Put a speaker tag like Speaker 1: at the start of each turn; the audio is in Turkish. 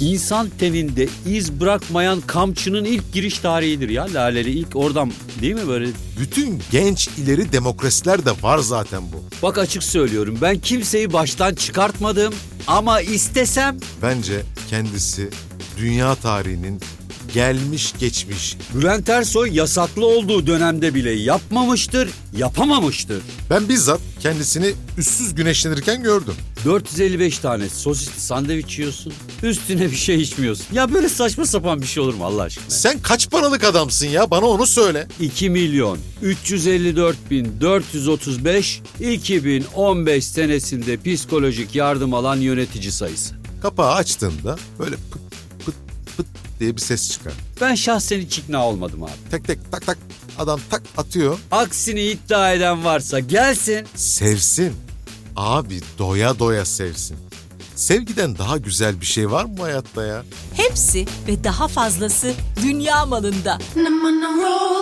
Speaker 1: insan teninde iz bırakmayan kamçının ilk giriş tarihidir ya laleli ilk oradan değil mi böyle?
Speaker 2: Bütün genç ileri demokrasiler de var zaten bu.
Speaker 1: Bak açık söylüyorum ben kimseyi baştan çıkartmadım ama istesem
Speaker 2: Bence kendisi dünya tarihinin gelmiş geçmiş.
Speaker 1: Bülent Ersoy yasaklı olduğu dönemde bile yapmamıştır, yapamamıştır.
Speaker 2: Ben bizzat kendisini üstsüz güneşlenirken gördüm.
Speaker 1: 455 tane sosisli sandviç yiyorsun. Üstüne bir şey içmiyorsun. Ya böyle saçma sapan bir şey olur mu Allah aşkına?
Speaker 2: Sen kaç paralık adamsın ya bana onu söyle.
Speaker 1: 2 milyon 354 bin 435 2015 senesinde psikolojik yardım alan yönetici sayısı.
Speaker 2: Kapağı açtığında böyle pıt pıt pıt diye bir ses çıkar.
Speaker 1: Ben şahsen hiç ikna olmadım abi.
Speaker 2: Tek tek tak tak adam tak atıyor.
Speaker 1: Aksini iddia eden varsa gelsin.
Speaker 2: Sevsin. Abi doya doya sevsin. Sevgiden daha güzel bir şey var mı hayatta ya?
Speaker 3: Hepsi ve daha fazlası dünya malında.
Speaker 4: And I'm on a roll.